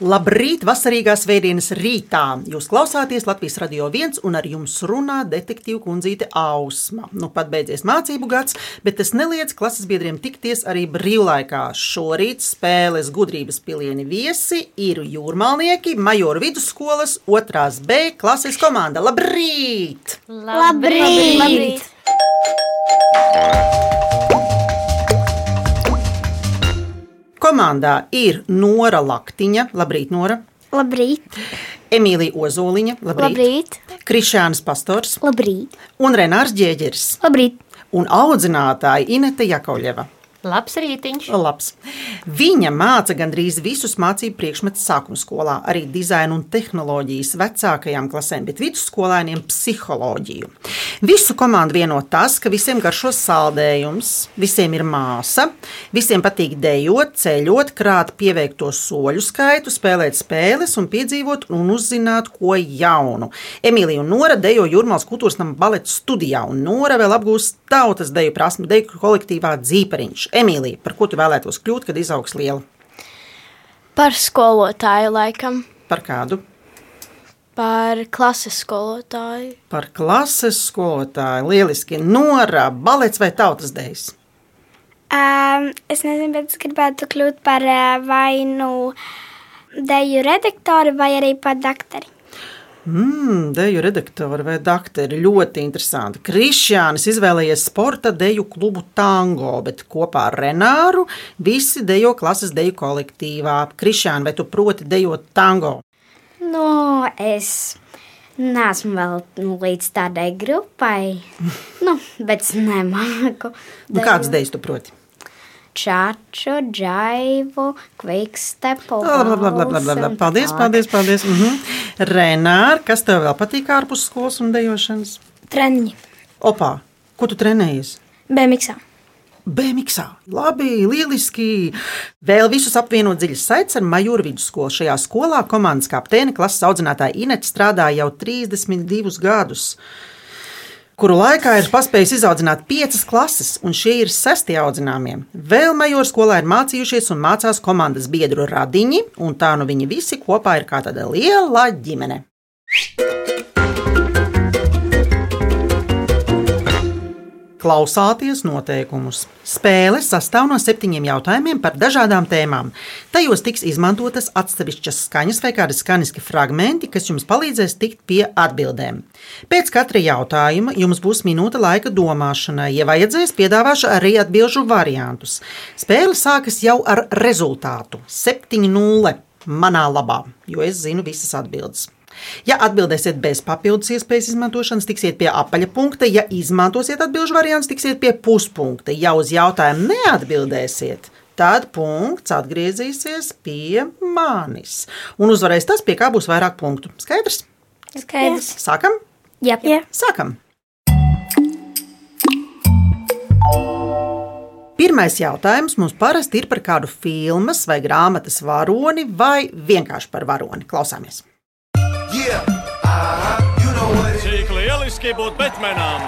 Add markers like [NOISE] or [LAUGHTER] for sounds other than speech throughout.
Labrīt, vasarīgās veidienas rītā. Jūs klausāties Latvijas radio viens un ar jums runā detektīva kundzīte Ausma. Nu, pat beidzies mācību gads, bet tas neliedz klases biedriem tikties arī brīvlaikā. Šorīt spēles gudrības pilieni viesi ir jūrmalnieki Majoru vidusskolas otrās B klases komanda. Labrīt! Labrīt! Labrīt! Komandā ir Nora Laktiņa, labrīt, Nora, Labrīt! Emīlija Ozoliņa, labrīt, Labrīt! Krišāns Pastors Labrīt! un Renārs Ģēģeris Labrīt! un audzinātāja Inete Jakovļeva. Labs rītiņš. Labs. Viņa māca gandrīz visus mācību priekšmetus sākuma skolā, arī dizainu un tehnoloģijas vecākajām klasēm, bet vidusskolēniem psiholoģiju. Visu komandu vieno tas, ka visiem garšo saldējums, visiem ir māsa, visiem patīk dejot, ceļot, krāt pieveikto soļu skaitu, spēlēt spēles un piedzīvot un uzzināt ko jaunu. Emīlija un Nora dejo Jurmāls kultūras nama baleta studijā, un Nora vēl apgūst tautas deju prasmu deju kolektīvā dzīpariņš. Emīlija, par ko tu vēlētos kļūt, kad izaugs liela? Par skolotāju laikam, Par kādu? par klases skolotāju, Par klases skolotāju. Lieliski, Nora, balets vai tautas dejas? Um, es nezinu, bet es gribētu kļūt par uh, vai nu deju redaktoru, vai arī par doktori. Mmm, deju redaktori vai dakteri. Ļoti interesanti. Krišjānis izvēlējies sporta deju klubu tango, bet kopā ar Renāru visi dejo klases deju kolektīvā. Krišjāni, vai tu proti dejot tango? Nu, es neesmu vēl nu, līdz tādai grupai, nu, bet es nemāku. Nu, kādas dejas tu proti? Čāču, džaivu, kvikstepu. Labi, labi, labi, labi, labi. Paldies, paldies, paldies. Uh -huh. Renāri, kas tev vēl patīk ārpus skolas un dejošanas? Treniņi, Opā, ko tu trenējies? BMX. Bēmiksā. Labi, lieliski. Vēl visus apvienot dziļas saites ar Majuru vidusskolu. Šajā skolā komandas kapteini klases audzinātāja Inete strādāja jau 32 gadus. Kuru laikā ir paspējis izaudzināt piecas klases, un šie ir sestie audzināmie. Vēl major skolā ir mācījušies un mācās komandas biedru radiņi, un tā nu viņi visi kopā ir kā tāda liela ģimene. Klausāties noteikumus. Spēle sastāv no septiņiem jautājumiem par dažādām tēmām. Tajos tiks izmantotas atsevišķas skaņas vai kādi skaņiski fragmenti, kas jums palīdzēs tikt pie atbildēm. Pēc katra jautājuma jums būs minūte laika domāšanai. Ja vajadzēs, piedāvāšu arī atbildžu variantus. Spēle sākas jau ar rezultātu - 7-0 manā labā, jo es zinu visas atbildes. Ja atbildēsiet bez papildus iespējas izmantošanas, tiksiet pie apaļa punkta. Ja izmantosiet atbildžu variantu, tiksiet pie puspunkta. Ja uz jautājumu neatbildēsiet, tad punkts atgriezīsies pie manis. Un uzvarēs tas, pie kā būs vairāk punktu. Skaidrs? Skaidrs. Sākam! Jā, jā. Sākam! Pirmais jautājums mums parasti ir par kādu filmas vai grāmatas varoni vai vienkārši par varoni. Klausāmies! Yeah, uh-huh, you know what it Cik lieliski būt Batmanam!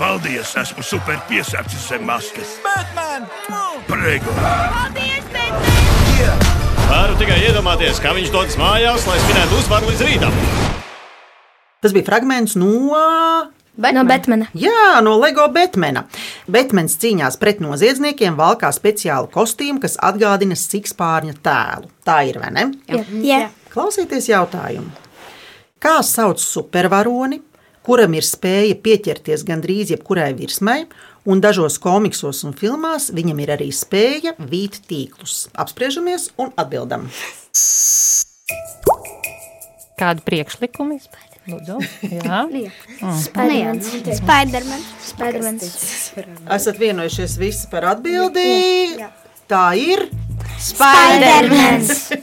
Paldies, esmu super piesācis zem maskas. Batman! Prego! Varu tikai iedomāties, kā viņš dodas mājās, lai svinētu uzvaru līdz rītam. Tas bija fragments no Bet no bet Batmana, Jā, no LEGO Batmana. Batmans cīņās pret noziedzniekiem, valkā speciālu kostīmu, kas atgādina sikspārņa tēlu. Tā ir vai ne? jā. Klausieties jautājumu. Kā sauc supervaroni, kuram ir spēja pieķerties gandrīz jebkurai virsmai, un dažos komiksos un filmās viņam ir arī spēja vīt tīklus? Apspriežamies un atbildam. Kādu priekšlikumu izpētīt? Lūdzu, jā. Paldies! Mm. Spiderman. Esat vienojušies visi par atbildību. Tā ir. Spiderman.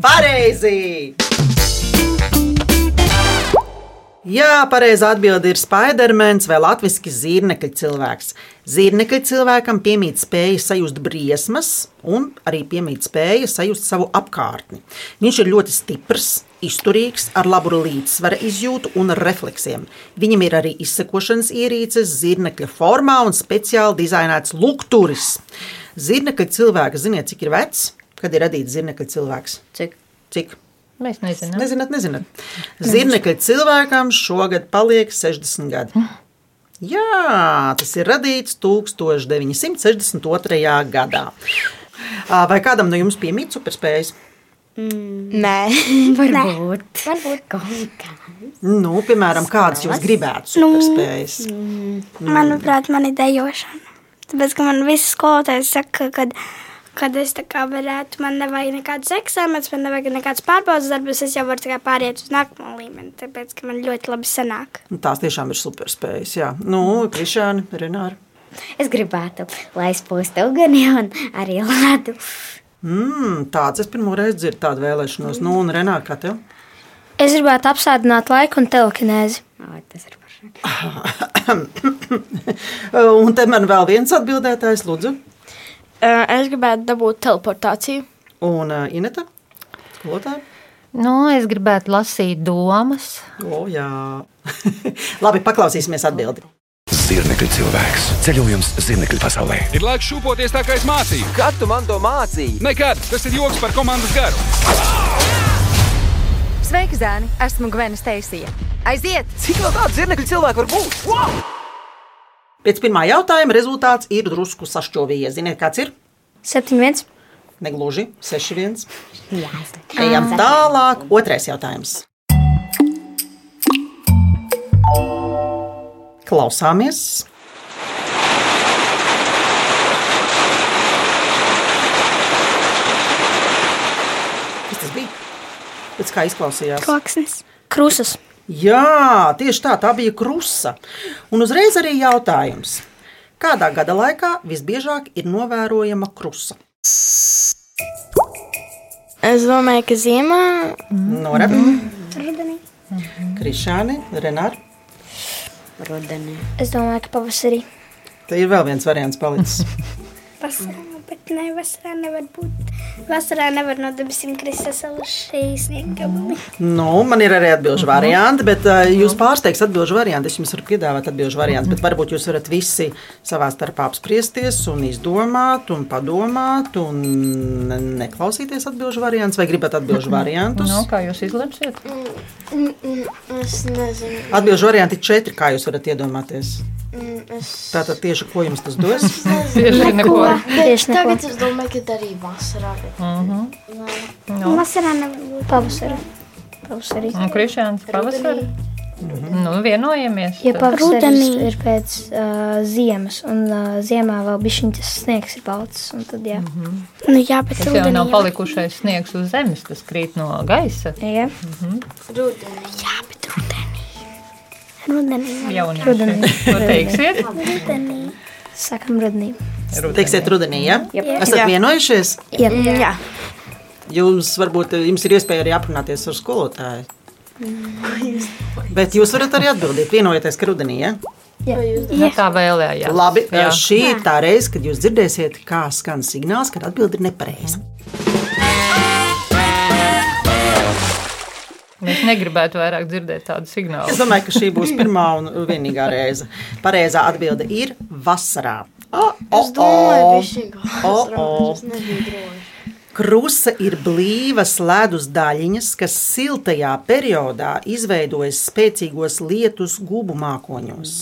Pareizi! Jā, pareizā atbilde ir Spidermans vai latviešu zīmekļa cilvēks. Zīmekļa cilvēkam piemīt spēja sajust briesmas un arī piemīt spēja sajust savu apkārtni. Viņš ir ļoti stiprs, izturīgs, ar labu līdzsvara izjūtu un refleksiem. Viņam ir arī izsekošanas ierīces zīmekļa formā un speciāli dizainēts lukturis. Zīmekļa cilvēks, ziniet, cik ir vecs? kad ir radīts zirnekļa cilvēks? Cik? Cik? Mēs nezinām. Nezināt, nezināt. Zirnekļa cilvēkam šogad paliek 60 gadi. Jā, tas ir radīts 1962. gadā. Ā, Vai kādam no jums piemīt superspējas? Nē, Varbūt. Varbūt. Kaut kā. Nu, piemēram, kādas jūs gribētu superspējas? Manuprāt, man ir dejošana. Tāpēc, ka man viss skolotājs saka, kad, kad es tā kā varētu, man nevajag nekādus eksāmenus, man nevajag nekādus pārbaudas darbus, es jau varu tā kā pāriet uz nākamo līmeni, tāpēc, ka man ļoti labi sanāk. Nu, Tās tiešām ir superspējas. Jā, nu, Krišāna, Renāra. Es gribētu, lai spūstu uguni un arī lādu. Mm, tāds es pirmo reizi dzirdu tādu vēlēšanos. Nu, un Renāra, kā tev? [LAUGHS] es gribētu apsādināt laiku un telekinēzi. O, tas ir forši. un te man vēl viens atbildētājs, Lūdzu. Es gribētu dabūt teleportāciju. Un uh, Ineta? Skolotāja? Nu, es gribētu lasīt domas. O, jā. [LAUGHS] Labi, paklausīsimies atbildi. Zirnekļa cilvēks. Ceļojums zirnekļa pasaulē. Ir laiks šūpoties tā, kā es mācīju. Kad tu man to mācīji? Nekad tas ir joks par komandas garu. Sveiki, Zēni! Esmu Gvena Steisija. Aiziet! Cik no tāda zirnekļa cilvēka var būt? Wow! Pēc pirmā jautājuma rezultāts ir drusku sašķelvies. Ziniet, kāds ir? 7,1. Negluži 6-1. Jā, es Ejam tālāk. Otrais jautājums. Klausāmies. Kas tas bija? Pēc kā izklausījās? Koksnes. Krusas. Jā, tieši tā, tā bija krusa. Un uzreiz arī jautājums. Kādā gada laikā visbiežāk ir novērojama krusa? Es domāju, ka ziemā Norab, mm. Krišāni, Renāri. rudenī. Es domāju, ka pavasarī. Te ir vēl viens variants palicis. [LAUGHS] Vasarā, bet ne, vasarā nevar būt. Vasarā nevar no debesīm kristas alušīs niekam. nu, man ir arī atbildžu varianti, bet ā, jūs pārsteigsiet atbildžu variantu. Es jums varu piedāvāt atbildžu variantu, bet varbūt jūs varat visi savā starpā apspriesties un izdomāt un padomāt un ne- neklausīties atbildžu variantus vai gribat atbildžu variantus. Nu, kā jūs izlemsiet? Mm, Es nezinu, Atbildžu varianti ir četri, kā jūs varat iedomāties. Tātad tieši ko jums tas [LAUGHS] dos? Tieši neko. tieši tagad es domāju, ka arī vasarā. Vasarā nevar būt. Pavasarā. Pavasarī. Un krišāns pavasarī. Nu, vienojamies. Ja tad. pavasaris Rudenī. ir pēc uh, ziemas, un uh, ziemā vēl bija šis sniegs, ir balts. un Tad, jā. Mm Nu jā, bet Tas jau nav palikušais sniegs uz zemes, tas krīt no gaisa. -hmm. ja? Mhm. Jā, bet rudenī. Rudenī. Jaunieši, Rudenī. ko teiksiet? Rudenī. Sakam, rudenī. Teiksiet, rudenī, ja? Jep. Esat vienojušies? Jā, Mm, Jā, Jums varbūt eh, jums ir iespēja arī aprunāties ar skolotāju. Mm. Bet jūs varat arī atbildēt, vienojoties, ka rudenī ja? Nu, Tā vēlējās. Labi, eh, Jā. šī ir tā reize, kad jūs dzirdēsiet, kā skan signāls, kad atbildi ir nepareiza. Mēs negribētu vairāk dzirdēt tādu signālu. Es domāju, ka šī būs pirmā un vienīgā reize. Pareizā atbilde ir vasarā. O, o, es domāju, o. ka šī O, o. nebija droši. Krusa ir blīvas ledus daļiņas, kas siltajā periodā izveidojas spēcīgos lietus gubu mākoņos.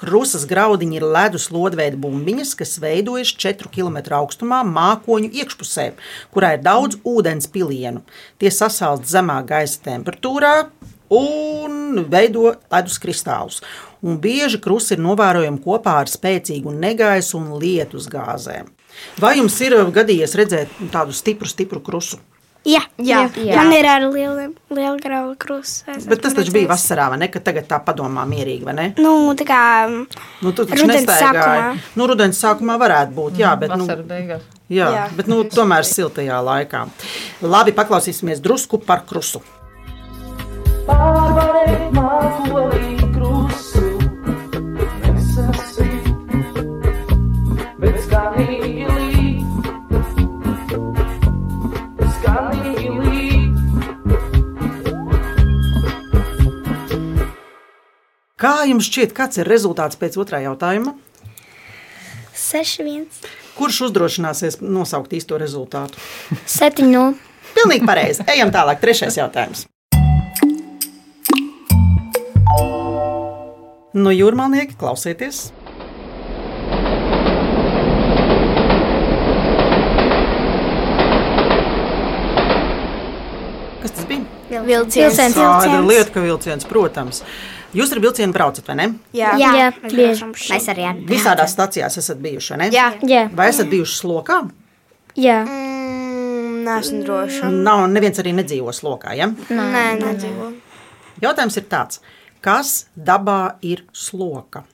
Krusas graudiņi ir ledus lodveida bumbiņas, kas veidojas 4 km augstumā mākoņu iekšpusē, kurā ir daudz ūdens pilienu. Tie sasaucas zemā gaisa temperatūrā un veido ledus kristālus. Un bieži krusi ir novērojami kopā ar spēcīgu negaisu un lietus gāzēm. Vai jums ir uh, gadījies redzēt tādu stipru, stipru krusu? Jā, jā, Jā. jā. man ir arī liela grauda krusta. Bet tas taču bija vasarā, vai ne? Kad tagad tā padomā mierīgi, vai ne? Nu, tā kā mm, Nu, tur taču Rudens nestaigāja. sākumā. Nu, rudens sākumā varētu būt, jā, bet. Nu, Vasaras beigās. jā, jā, Jā. bet nu, tomēr siltajā laikā. Labi, paklausīsimies drusku par krusu. Kā jums šķiet, kāds ir rezultāts pēc otrā jautājuma? seši viens. Kurš uzdrošināsies nosaukt īsto rezultātu? 7-0. Pilnīgi pareizi. Ejam tālāk. Trešais jautājums. Nu, jūrmānieki, klausieties! Kas tas bija? Vilciens. Tā ir lieta, ka vilciens, protams. Jūs ar vilcienu braucat, vai ne? Jā, Jā, jā Mēs bieži. braucam šeit. Mēs arī ar Visādās stacijās esat bijuši, vai ne? Jā. Jā, Vai esat bijuši slokā? jā. Mm, Nē, esmu droša. Nav, neviens arī nedzīvo slokā, ja? Nē, nedzīvo. Jautājums ir tāds, kas dabā ir sloka?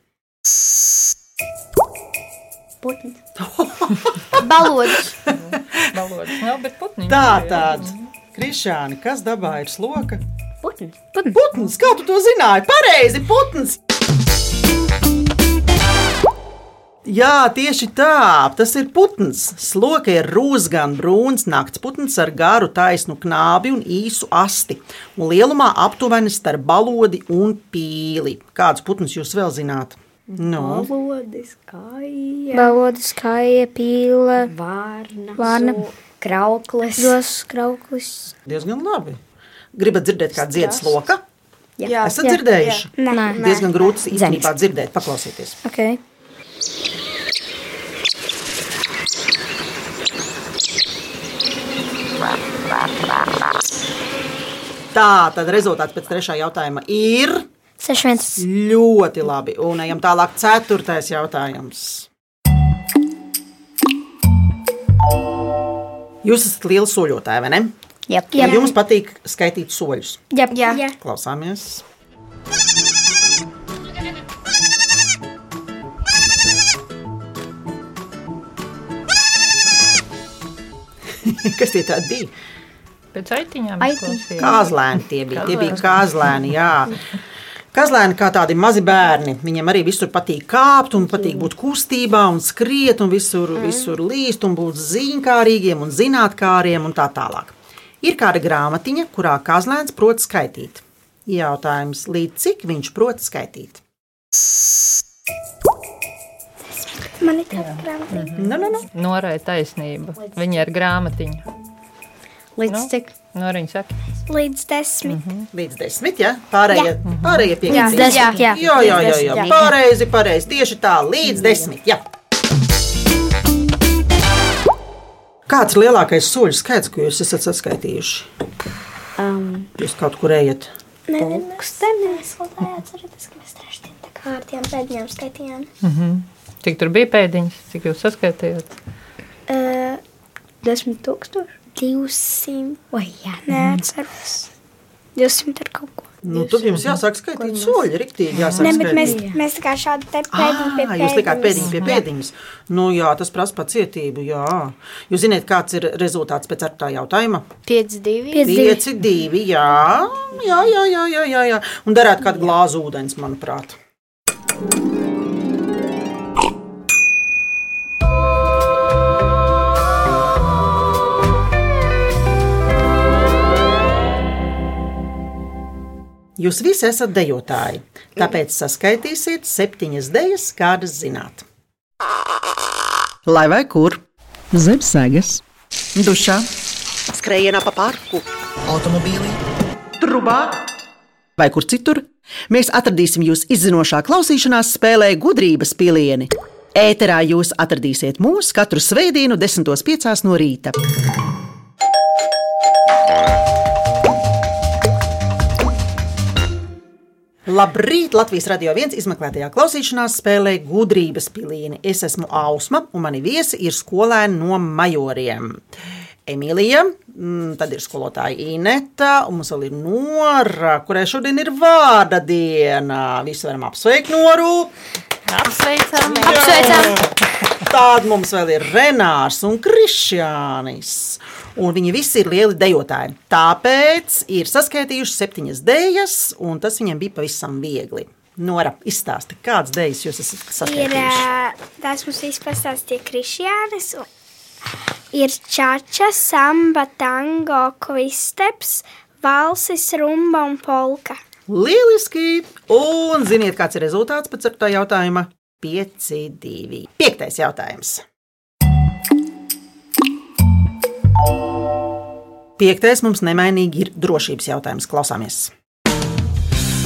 Balodas. Balodas nav, bet putniņi. Tā tāds. Krišāni, kas dabā ir sloka? putnu. Putns, kā tu to zināji? Pareizi, putns! Jā, tieši tā, tas ir putns. Sloka ir rūsgan brūns naktsputns ar garu taisnu knābi un īsu asti. Un lielumā aptuveni starp balodi un pīli. Kāds putns jūs vēl zināt? Nu, Lodis, kāja, Balodas, kāja, pīle, vārna, Vārna. so- krauklis. dos krauklis. diezgan labi. Gribat dzirdēt, kā dziedā sloka? Jā, Esat dzirdējuši? Nē, Diezgan grūts īstenībā Dzenis. dzirdēt, paklausieties. ok. Tā tad rezultāts pēc trešā jautājuma ir 6-1. ļoti labi. Un ejam tālāk, ceturtais jautājums. Jūs esat liela soļotāja, vai ne? Jā, Jā. Jums patīk skaitīt soļus. Jā, Jā. Jā. Klausāmies. [LAUGHS] Kas tie tādi bija? Pēc aitiņām Aitiņi. izklausījās. Kazlēni tie bija. Tie bija kazlēni, jā. Kazlēni kā tādi mazi bērni. Viņiem arī visur patīk kāpt, un patīk būt kustībā, un skriet, un visur, Mm. visur līst, un būt zīmkārīgiem, un zinātnāriem, un tā tālāk. Ir kāda grāmatiņa, kurā kazlēns prot skaitīt. Jautājums, līdz cik viņš prot skaitīt? Man ir tāda grāmata. Nu, nu, nu. Norai taisnība. Viņa ir grāmatiņa. Līdz Nu. cik? Noriņa saka, Līdz desmit. Līdz desmit, ja? Pārējie, pārējie pie Līdz desmit, jā. Jā, jā, jā, jā. Pareizi, pareizi. Tieši tā, līdz desmit. Jā. Kāds ir lielākais soļu skaits, ko jūs esat saskaitījuši? Um, Jūs kaut kur ejat. Nē, nē, nē. Mēs skolotājā atceraties, ka mēs trešdien tā kā ar tiem pēdējiem skaitījām. cik tur bija pēdiņas, cik jūs saskaitījāt. Uh, desmit tūkstoši. 200. O, jā. Mhm. Neatceros. 200 ar kaut ko. Nu, tad jums jāsāk skaitīt soļi. Riktīgi jāsāk Nē, bet mēs, skaitīt. mēs tā kā šādi te pēdiņu pie Ah, pēdiņas. jūs likāt pēdiņu pie pēdiņas. Nu, jā, tas prasa pacietību. Jā. Jūs zināt, kāds ir rezultāts pēc ar tā jautājuma? 5, 2. 5, 2. Jā, jā, jā, jā, jā, jā, jā. Un darāt kādu glāzi ūdens, manuprāt. Jūs visi esat dejotāji, tāpēc saskaitīsiet septiņas dejas, kādas zināt. Lai vai kur? Zem sēgas, dušā, skrējienā pa parku, automobīlī, trubā vai kur citur. Mēs atradīsim jūs izzinošā klausīšanās spēlē gudrības pilieni. Ēterā jūs atradīsiet mūs katru svētdienu, 10.5. no rīta. Labrīt! Latvijas radio viens izmeklētajā klausīšanās spēlē gudrības pilīni. Es esmu Ausma, un mani viesi ir skolēni no majoriem. Emīlija, mm, tad ir skolotāja Inēta, un mums vēl ir Nora, kurai šodien ir vārda diena. Visi varam apsveikt Noru. Apsveicam! Tāda mums vēl ir Renārs un Krišjānis. Un viņi visi ir lieli dejotāji. Tāpēc ir saskaitījuši septiņas dēļas, un tas viņiem bija pavisam viegli. Nora, izstāsti, kādas dēļas jūs esat Ir, saskaitījuši? ā, tās mums izpastāsta tie krišjānis. un Ir čača, samba, tango, kvisteps, valsis, rumba un polka. Lieliski! Un ziniet, kāds ir rezultāts pēc ar tā jautājuma? 5, 2. Piektais jautājums. Piektais mums nemainīgi ir drošības jautājums. Klausāmies!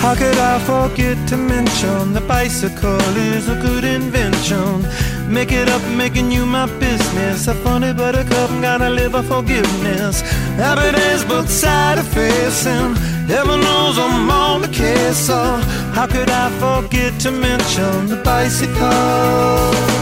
How could I forget to mention the bicycle is a good invention? Make it up, making you my business. A funny buttercup, gotta live by forgiveness. Happiness, both side of facing. Heaven knows I'm on the case. So how could I forget to mention the bicycle?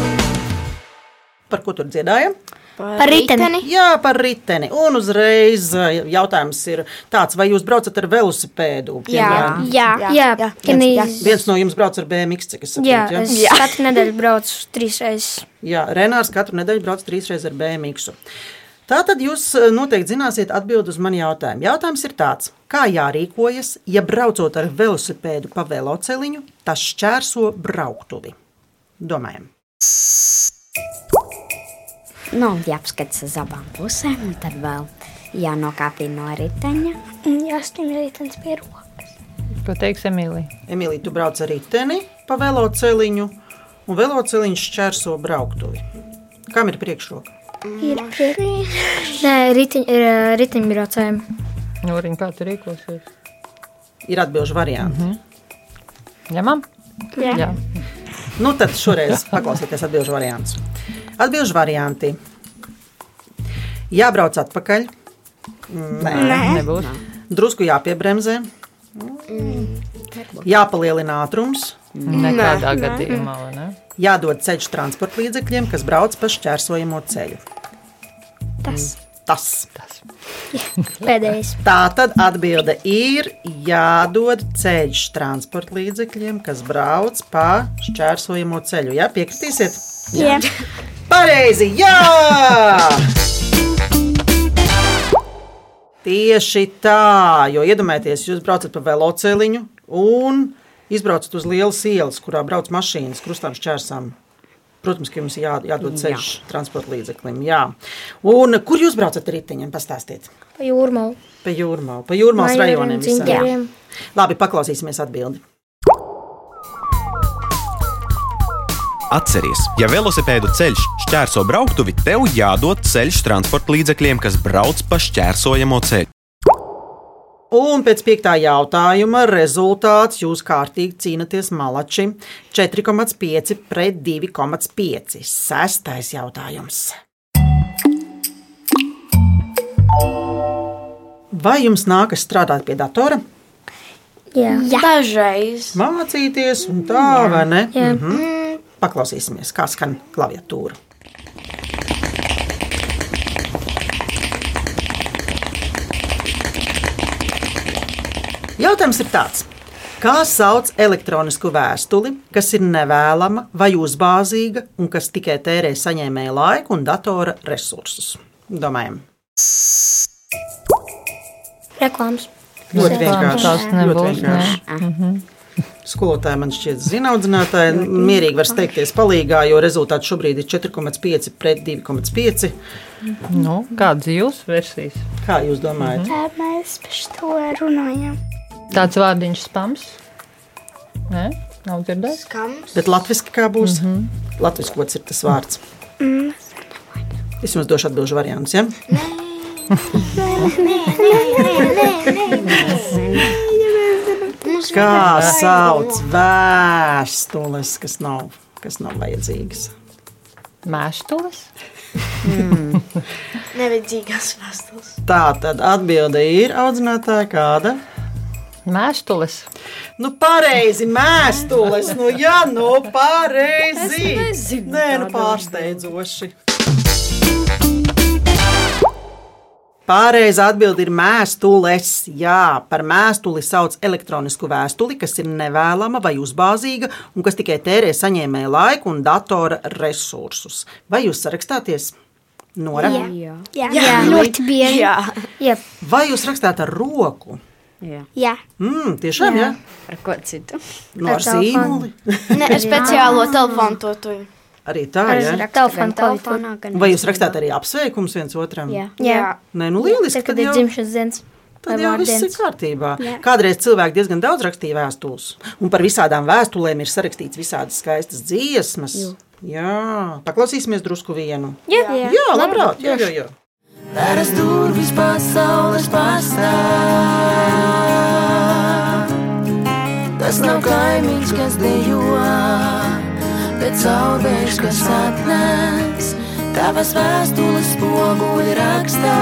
Par ko tur dziedājam? Par riteni. riteni. Jā, par riteni. Un uzreiz eh, jautājums ir tāds, vai jūs braucat ar velosipēdu? Jā. Jā. Jā. Jā. Jā. Kenijs. Viens, viens no jums brauc ar BMW. Cik es saprotu, Jā, es jā. katru nedēļu braucu trīs reizes. Jā, Renārs katru nedēļu brauc trīs reizes ar BMW. Tā tad jūs eh, noteikti zināsiet atbildi uz mani jautājumu. Jautājums ir tāds, kā jārīkojas, ja braucot ar velosipēdu pa veloceliņu, tas šķērso brauktuvi. Domājam, Nu, jāapskatās uz abām pusēm, un tad vēl jānokāpj no riteņa. Mm, Jā, stingri ritenis pie rokas. Ko teiks Emīlija? Emīlija, tu brauc ar riteni pa veloceliņu, un veloceliņš šķērso brauktuvi. Kam ir priekšroka? Ir priekšā. Nē, ritiņ, ir eh, riteņbraucējiem. Noriņ, kā tu rīkosies? Ir atbilžu varianti. Mm Ņemam? Jā. Jā. -hmm. Nu, tad šoreiz paklausieties atbilžu variantus. Atbilžu varianti. Jābrauc atpakaļ. Nē, Nē. nebūs. Drusku jāpiebremzē. Jāpalielina ātrums. Nekādā Nē. gadījumā, vai ne? Jādod ceļš transporta līdzekļiem, kas brauc pa šķērsojamo ceļu. Tas. Tas. Pēdējais. Tā tad atbilde ir jādod ceļš transporta līdzekļiem, kas brauc pa šķērsojamo ceļu. Jā, piekritīsiet? Jā. Pareizi! Jā! Tieši tā, jo iedomājieties, jūs braucat pa velosipēdu un izbraucat uz lielas ielas, kurā brauc mašīnas krustām šķērsām. Protams, ka jums ir jā, jādod ceļš jā. transporta līdzeklim. Jā. Un kur jūs braucat ar riteņiem? Pastāstiet! Pa jūrmā. Pa jūrmā, pa jūrmā Vairiem rajoniem. visām. dziņģeriem. Labi, paklausīsimies atbildi. Atceries, ja velosipēdu ceļš šķērso brauktuvi, tev jādod ceļš transporta līdzekļiem, kas brauc pa šķērsojamo ceļu. Un pēc piektā jautājuma rezultāts jūs kārtīgi cīnāties malači 4,5 pret 2,5. Sestais jautājums. Vai jums nākas strādāt pie datora, Jā. Jā. Dažreiz. Mm. mācīties un tā, Jā. vai ne? Mhm. Paklausīsimies, kā skan klaviatūra. Jautājums ir tāds. Kā sauc elektronisku vēstuli, kas ir nevēlama vai uzbāzīga un kas tikai tērē saņēmēja laiku un datora resursus? Domājam, Reklāmas. ļoti vienkārši. Tās Ļoti nebūs. Mhm. vienkārši. Skolotāji man šķiet, zina audzinātāji, mierīgi var steigties palīgā, jo rezultāts šobrīd ir 4,5 pret 2,5. Nu, kādas jūs versijas? Kā jūs Mhm. domājat? Tā mēs par to runājam. Tāds vārdiņš spams? Nē, nav dzirdējis. Skams. Bet latviešu kā būs? Mm Mhm. -hmm. Latviešu kods ir tas vārds. Mm. Es jums došu atbildžu variantus. Ja? Kā sauc vēstules, kas nav, kas nav vajadzīgas? Mēstulis? Nevajadzīgās vēstules. Tā tad atbilde ir audzinātāja kāda. Mēstulis. Nu, pareizi, mēstules. Nu, jā, nu, pareizi. Es nezinu, Nē, nu, kāda. pārsteidzoši. Pareizā atbilde ir mēstules. Jā, par mēstuli sauc elektronisku vēstuli, kas ir nevēlama vai uzbāzīga un kas tikai tērē saņēmēja laiku un datora resursus. Vai jūs sarakstāties? Nora, Jā. Jā. Jā. Ļoti bieži. Jā. Jā. vai jūs rakstāt ar roku? Jā. Jā. Mm, tiešām, jā. jā. Ar ko citu? No Nu, ar Ar telefonu. zīmoli. [LAUGHS] Ne, ar speciālo telefonu to tu. Arī tā, Ar jā. rakstu Telefonu gan telefonā, klājienē. gan Vai jūs rakstāt arī apsveikumus viens otram? Jā. Jā. Nē, nu lieliski. Tad, kad ir dzimšanas dienas. Tad jau viss ir kārtībā. Jā. Jā. Kādreiz cilvēki diezgan daudz rakstīja vēstules, un par visām vēstulēm ir sarakstīts visādas skaistas dziesmas. Jā, paklausīsimies drusku vienu. Jā. jā labprāt, jā, jā, jā. Vēras durvis pasaules pastāv. Tas nav kaimiņš, kas dejo, bet caurvējš, kas atnāks. Tavas vēstules spoguļi rakstā.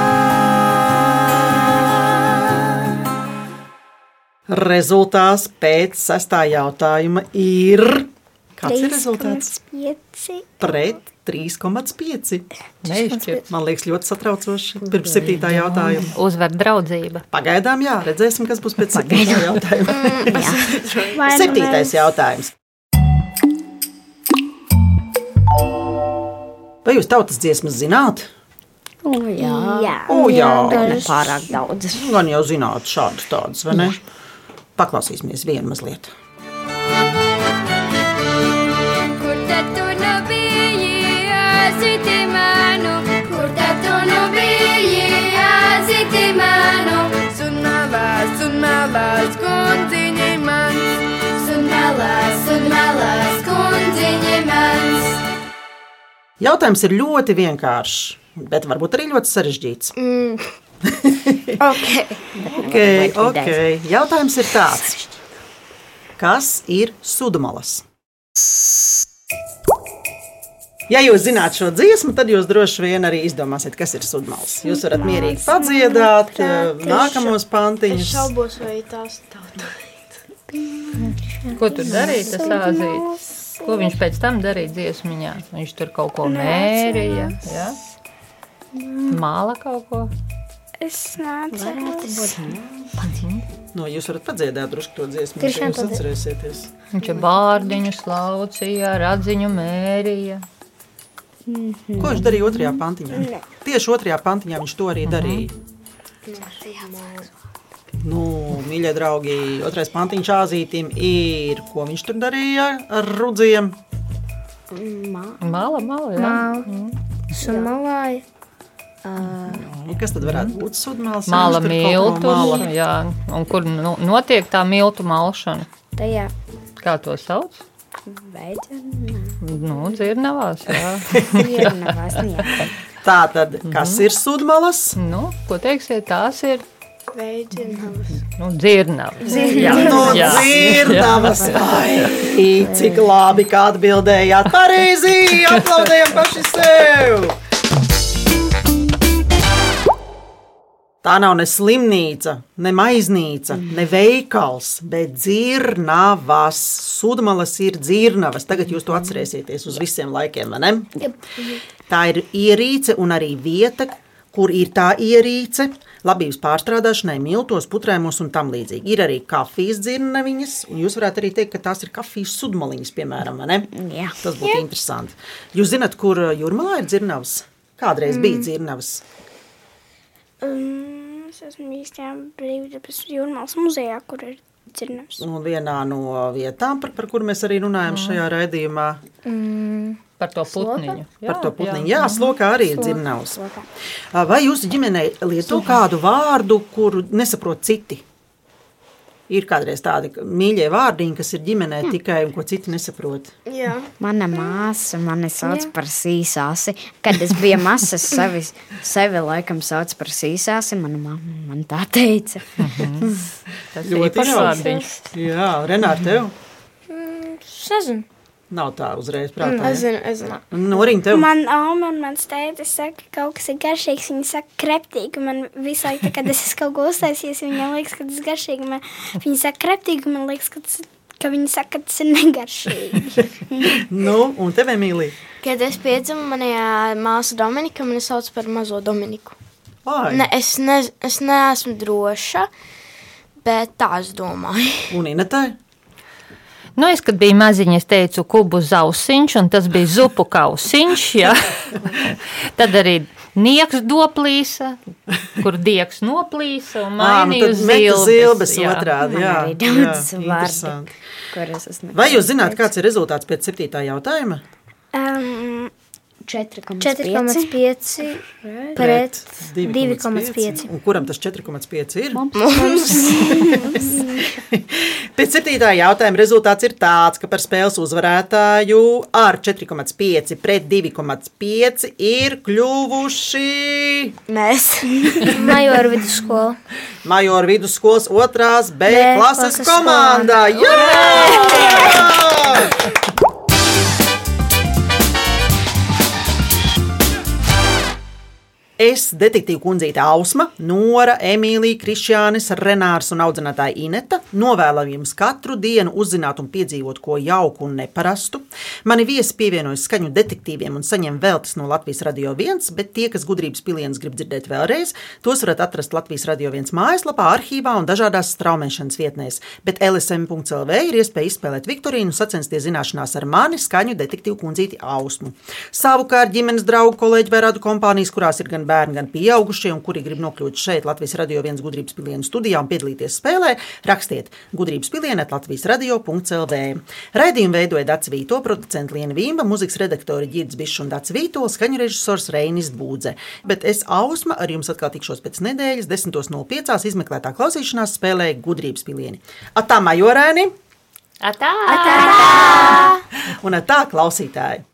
Rezultāts pēc sestā jautājuma ir. Kāds ir rezultāts? 3,5. Pret 3,5. Neizšķirt. Man liekas, ļoti satraucoši. Pirms septītā jautājuma. Uzvar draudzība. Pagaidām, jā, redzēsim, kas būs pēc septītā jautājuma. [LAUGHS] Septītais jautājums. Vai jūs tautas dziesmas zināt? O, jā, jā. O, jā. Bet ne pārāk daudz. Gan jau zināt, šādas tādas, vai ne? Paklausīsimies vienu mazliet. Kur tad tu nu biji, jāsiti manu? Kur tad tu nu biji, jāsiti manu? Sunalās, sunalās, kundziņi mans. Sunalās, sunalās, kundziņi mans. Jautājums ir ļoti vienkāršs, bet varbūt arī ļoti sarežģīts. [LAUGHS] Mm. ok. Okay, okay. Jautājums ir tāds. Kas ir sudramalas? Ja jūs zināt šo dziesmu, tad jūs droši vien arī izdomāsiet, kas ir sudramalas. Jūs varat mierīgi padziedāt eh, nākamos Es pantiņus. šaubos, vai tās tautas. Ko tur darīja tas āzītis? Ko viņš pēc tam darīja dziesmiņā? Viņš tur kaut ko mērīja, ja? māla kaut ko. Es nācu. Mhm. No, Nu, jūs varat padziedāt drusku to dziesmu, Krišņā ja jūs padzied- atcerēsieties. Viņš ar bārdiņu slaucīja, radziņu mērīja. Ko viņš darīja otrajā pantiņā? Nē. Tieši otrajā pantiņā viņš to arī darīja. Nu, mīļie draugi, otrais pantiņš āzītim ir, ko viņš tur darīja ar rudziem. Māla, māla, jā. Sumalāja. Nu, kas tad varētu būt sudmēls? Māla Viņš tur kaut miltu. ko māla. Jā, un kur nu, notiek tā miltu malšana? Tajā Kā to sauc? veidā. Nu, dzirnavās, jā. Dzirnavās, nu jā. Tā tad, kas ir sudmalas? Nu, ko teiksiet, tās ir? Veidzinājums. Nu, dzirnavas. Jā, nu, dzirdavas. Ai, cik labi, kā atbildējāt. Pareizi, aplaudējam paši sev. Tā nav ne slimnīca, ne maiznīca, ne veikals, bet dzirnavas. Sudmalas ir dzirnavas. Tagad jūs to atcerēsieties uz visiem laikiem, vai ne? Tā ir ierīce un arī vieta, kur ir tā ierīce labības pārstrādāšanai, miltos, putrēmos un tam līdzīgi. Ir arī kafijas dzirnaviņas, un jūs varētu arī teikt, ka tās ir kafijas sudmaliņas, piemēram. vai Ne? Jā. Tas būtu interesanti. Jūs zināt, kur uh, jūrmalā ir dzirnavas? Kādreiz mm. bija dzirnavas. Um, es esmu īstenībā brīvdabas jūrmālas muzejā, kur ir dzirnavs. Un nu, vienā no vietām, par, par kurām mēs arī runājam šajā raidījumā, Par to putniņu. par to putniņu. Jā, slokā arī ir dzirnavas. Vai jūsu ģimenei lieto kādu vārdu, kuru nesaprot citi? Ir kādreiz tādi mīļie vārdiņi, kas ir ģimenē Jā. tikai un ko citi nesaprot. Jā. Mana māsa mani sauc Jā. Jā. par sīsāsi. Kad es biju mazs, es sevi, sevi laikam sauc par sīsāsi. Mana mamma man tā teica. Tas ļoti pašvārdiņš. Jā, Renāri, tev Sezon. nav tā uzreiz prātā. Es zinu, es zinu. Noriņ, tev. Man auga un mans tēvs saka, ka kaut kas ir garšīgs. Viņa saka, kreptīgi. Man visu laiku, tā, kad es esmu kaut ko uztaisījis, viņa liekas, ka tas ir garšīgi. Man, viņa saka, kreptīgi. Man liekas, ka tas, ka viņa saka, ka tas ir negaršīgi. Nu, un tev, Emīlija. Kad es piedzimu, manā māsā Dominika mani sauc par mazo Dominiku. Ai. Ne, es, ne, es neesmu droša, bet tā es domāju. Un Inetai. Nu, es, kad biju maziņa, es teicu, kubu zausiņš, un tas bija zupu kausiņš. [LAUGHS] Jā. Tad arī nieks doplīsa, kur dieks noplīsa Ā, nu un mainīja tad uz meta zilbes. zilbes jā. otrādi, jā. Arī daudz Jā, interesanti. vārdu, kurus es nesaprotu. Vai jūs zināt, kāds ir rezultāts pēc septītā jautājuma? Um, 4,5 pret 2,5. Un kuram tas 4,5 ir? Mums. [LAUGHS] Pēc septītā jautājuma rezultāts ir tāds, ka par spēles uzvarētāju ar 4,5 pret 2,5 ir kļuvuši Mēs. Majora vidusskola. Majora vidusskolas otrās B B klases klases komanda. komanda. Jā! Es, detektīva kundzīte Ausma, Nora, Emīlija, Krišjānis, Renārs un audzinātāja Ineta, novēlam jums katru dienu uzzināt un piedzīvot ko jauku un neparastu. Mani viesi pievienojas skaņu detektīviem un saņem veltes no Latvijas Radio 1, bet tie, kas gudrības pilienus grib dzirdēt vēlreiz, tos varat atrast Latvijas Radio 1 mājaslapā, arhīvā un dažādās straumēšanas vietnēs. Bet LSM.CLV ir iespēja izspēlēt Viktorīnu un sacensties zināšanās ar mani, skaņu detektīvu kundzīti Ausmu. Savukārt ģimenes draugu kolēģi vai radu kompānijas, kurās ir gan bērni, gan pieaugušie, un kuri grib nokļūt šeit Latvijas radio viens gudrības pilienu studijā un piedalīties spēlē, rakstiet gudrības pilienē Latvijas radio.clv. Raidījumu veidoja Dats Vīto, producents Liena Vīmba, mūzikas redaktori Girds Bišs un Dats Vīto, skaņu režisors Reinis Būdze. Bet es Ausma ar jums atkal tikšos pēc nedēļas 10.05. izmeklētā klausīšanās spēlē gudrības pilieni. Atā majorēni Atā! un atā klausītāji!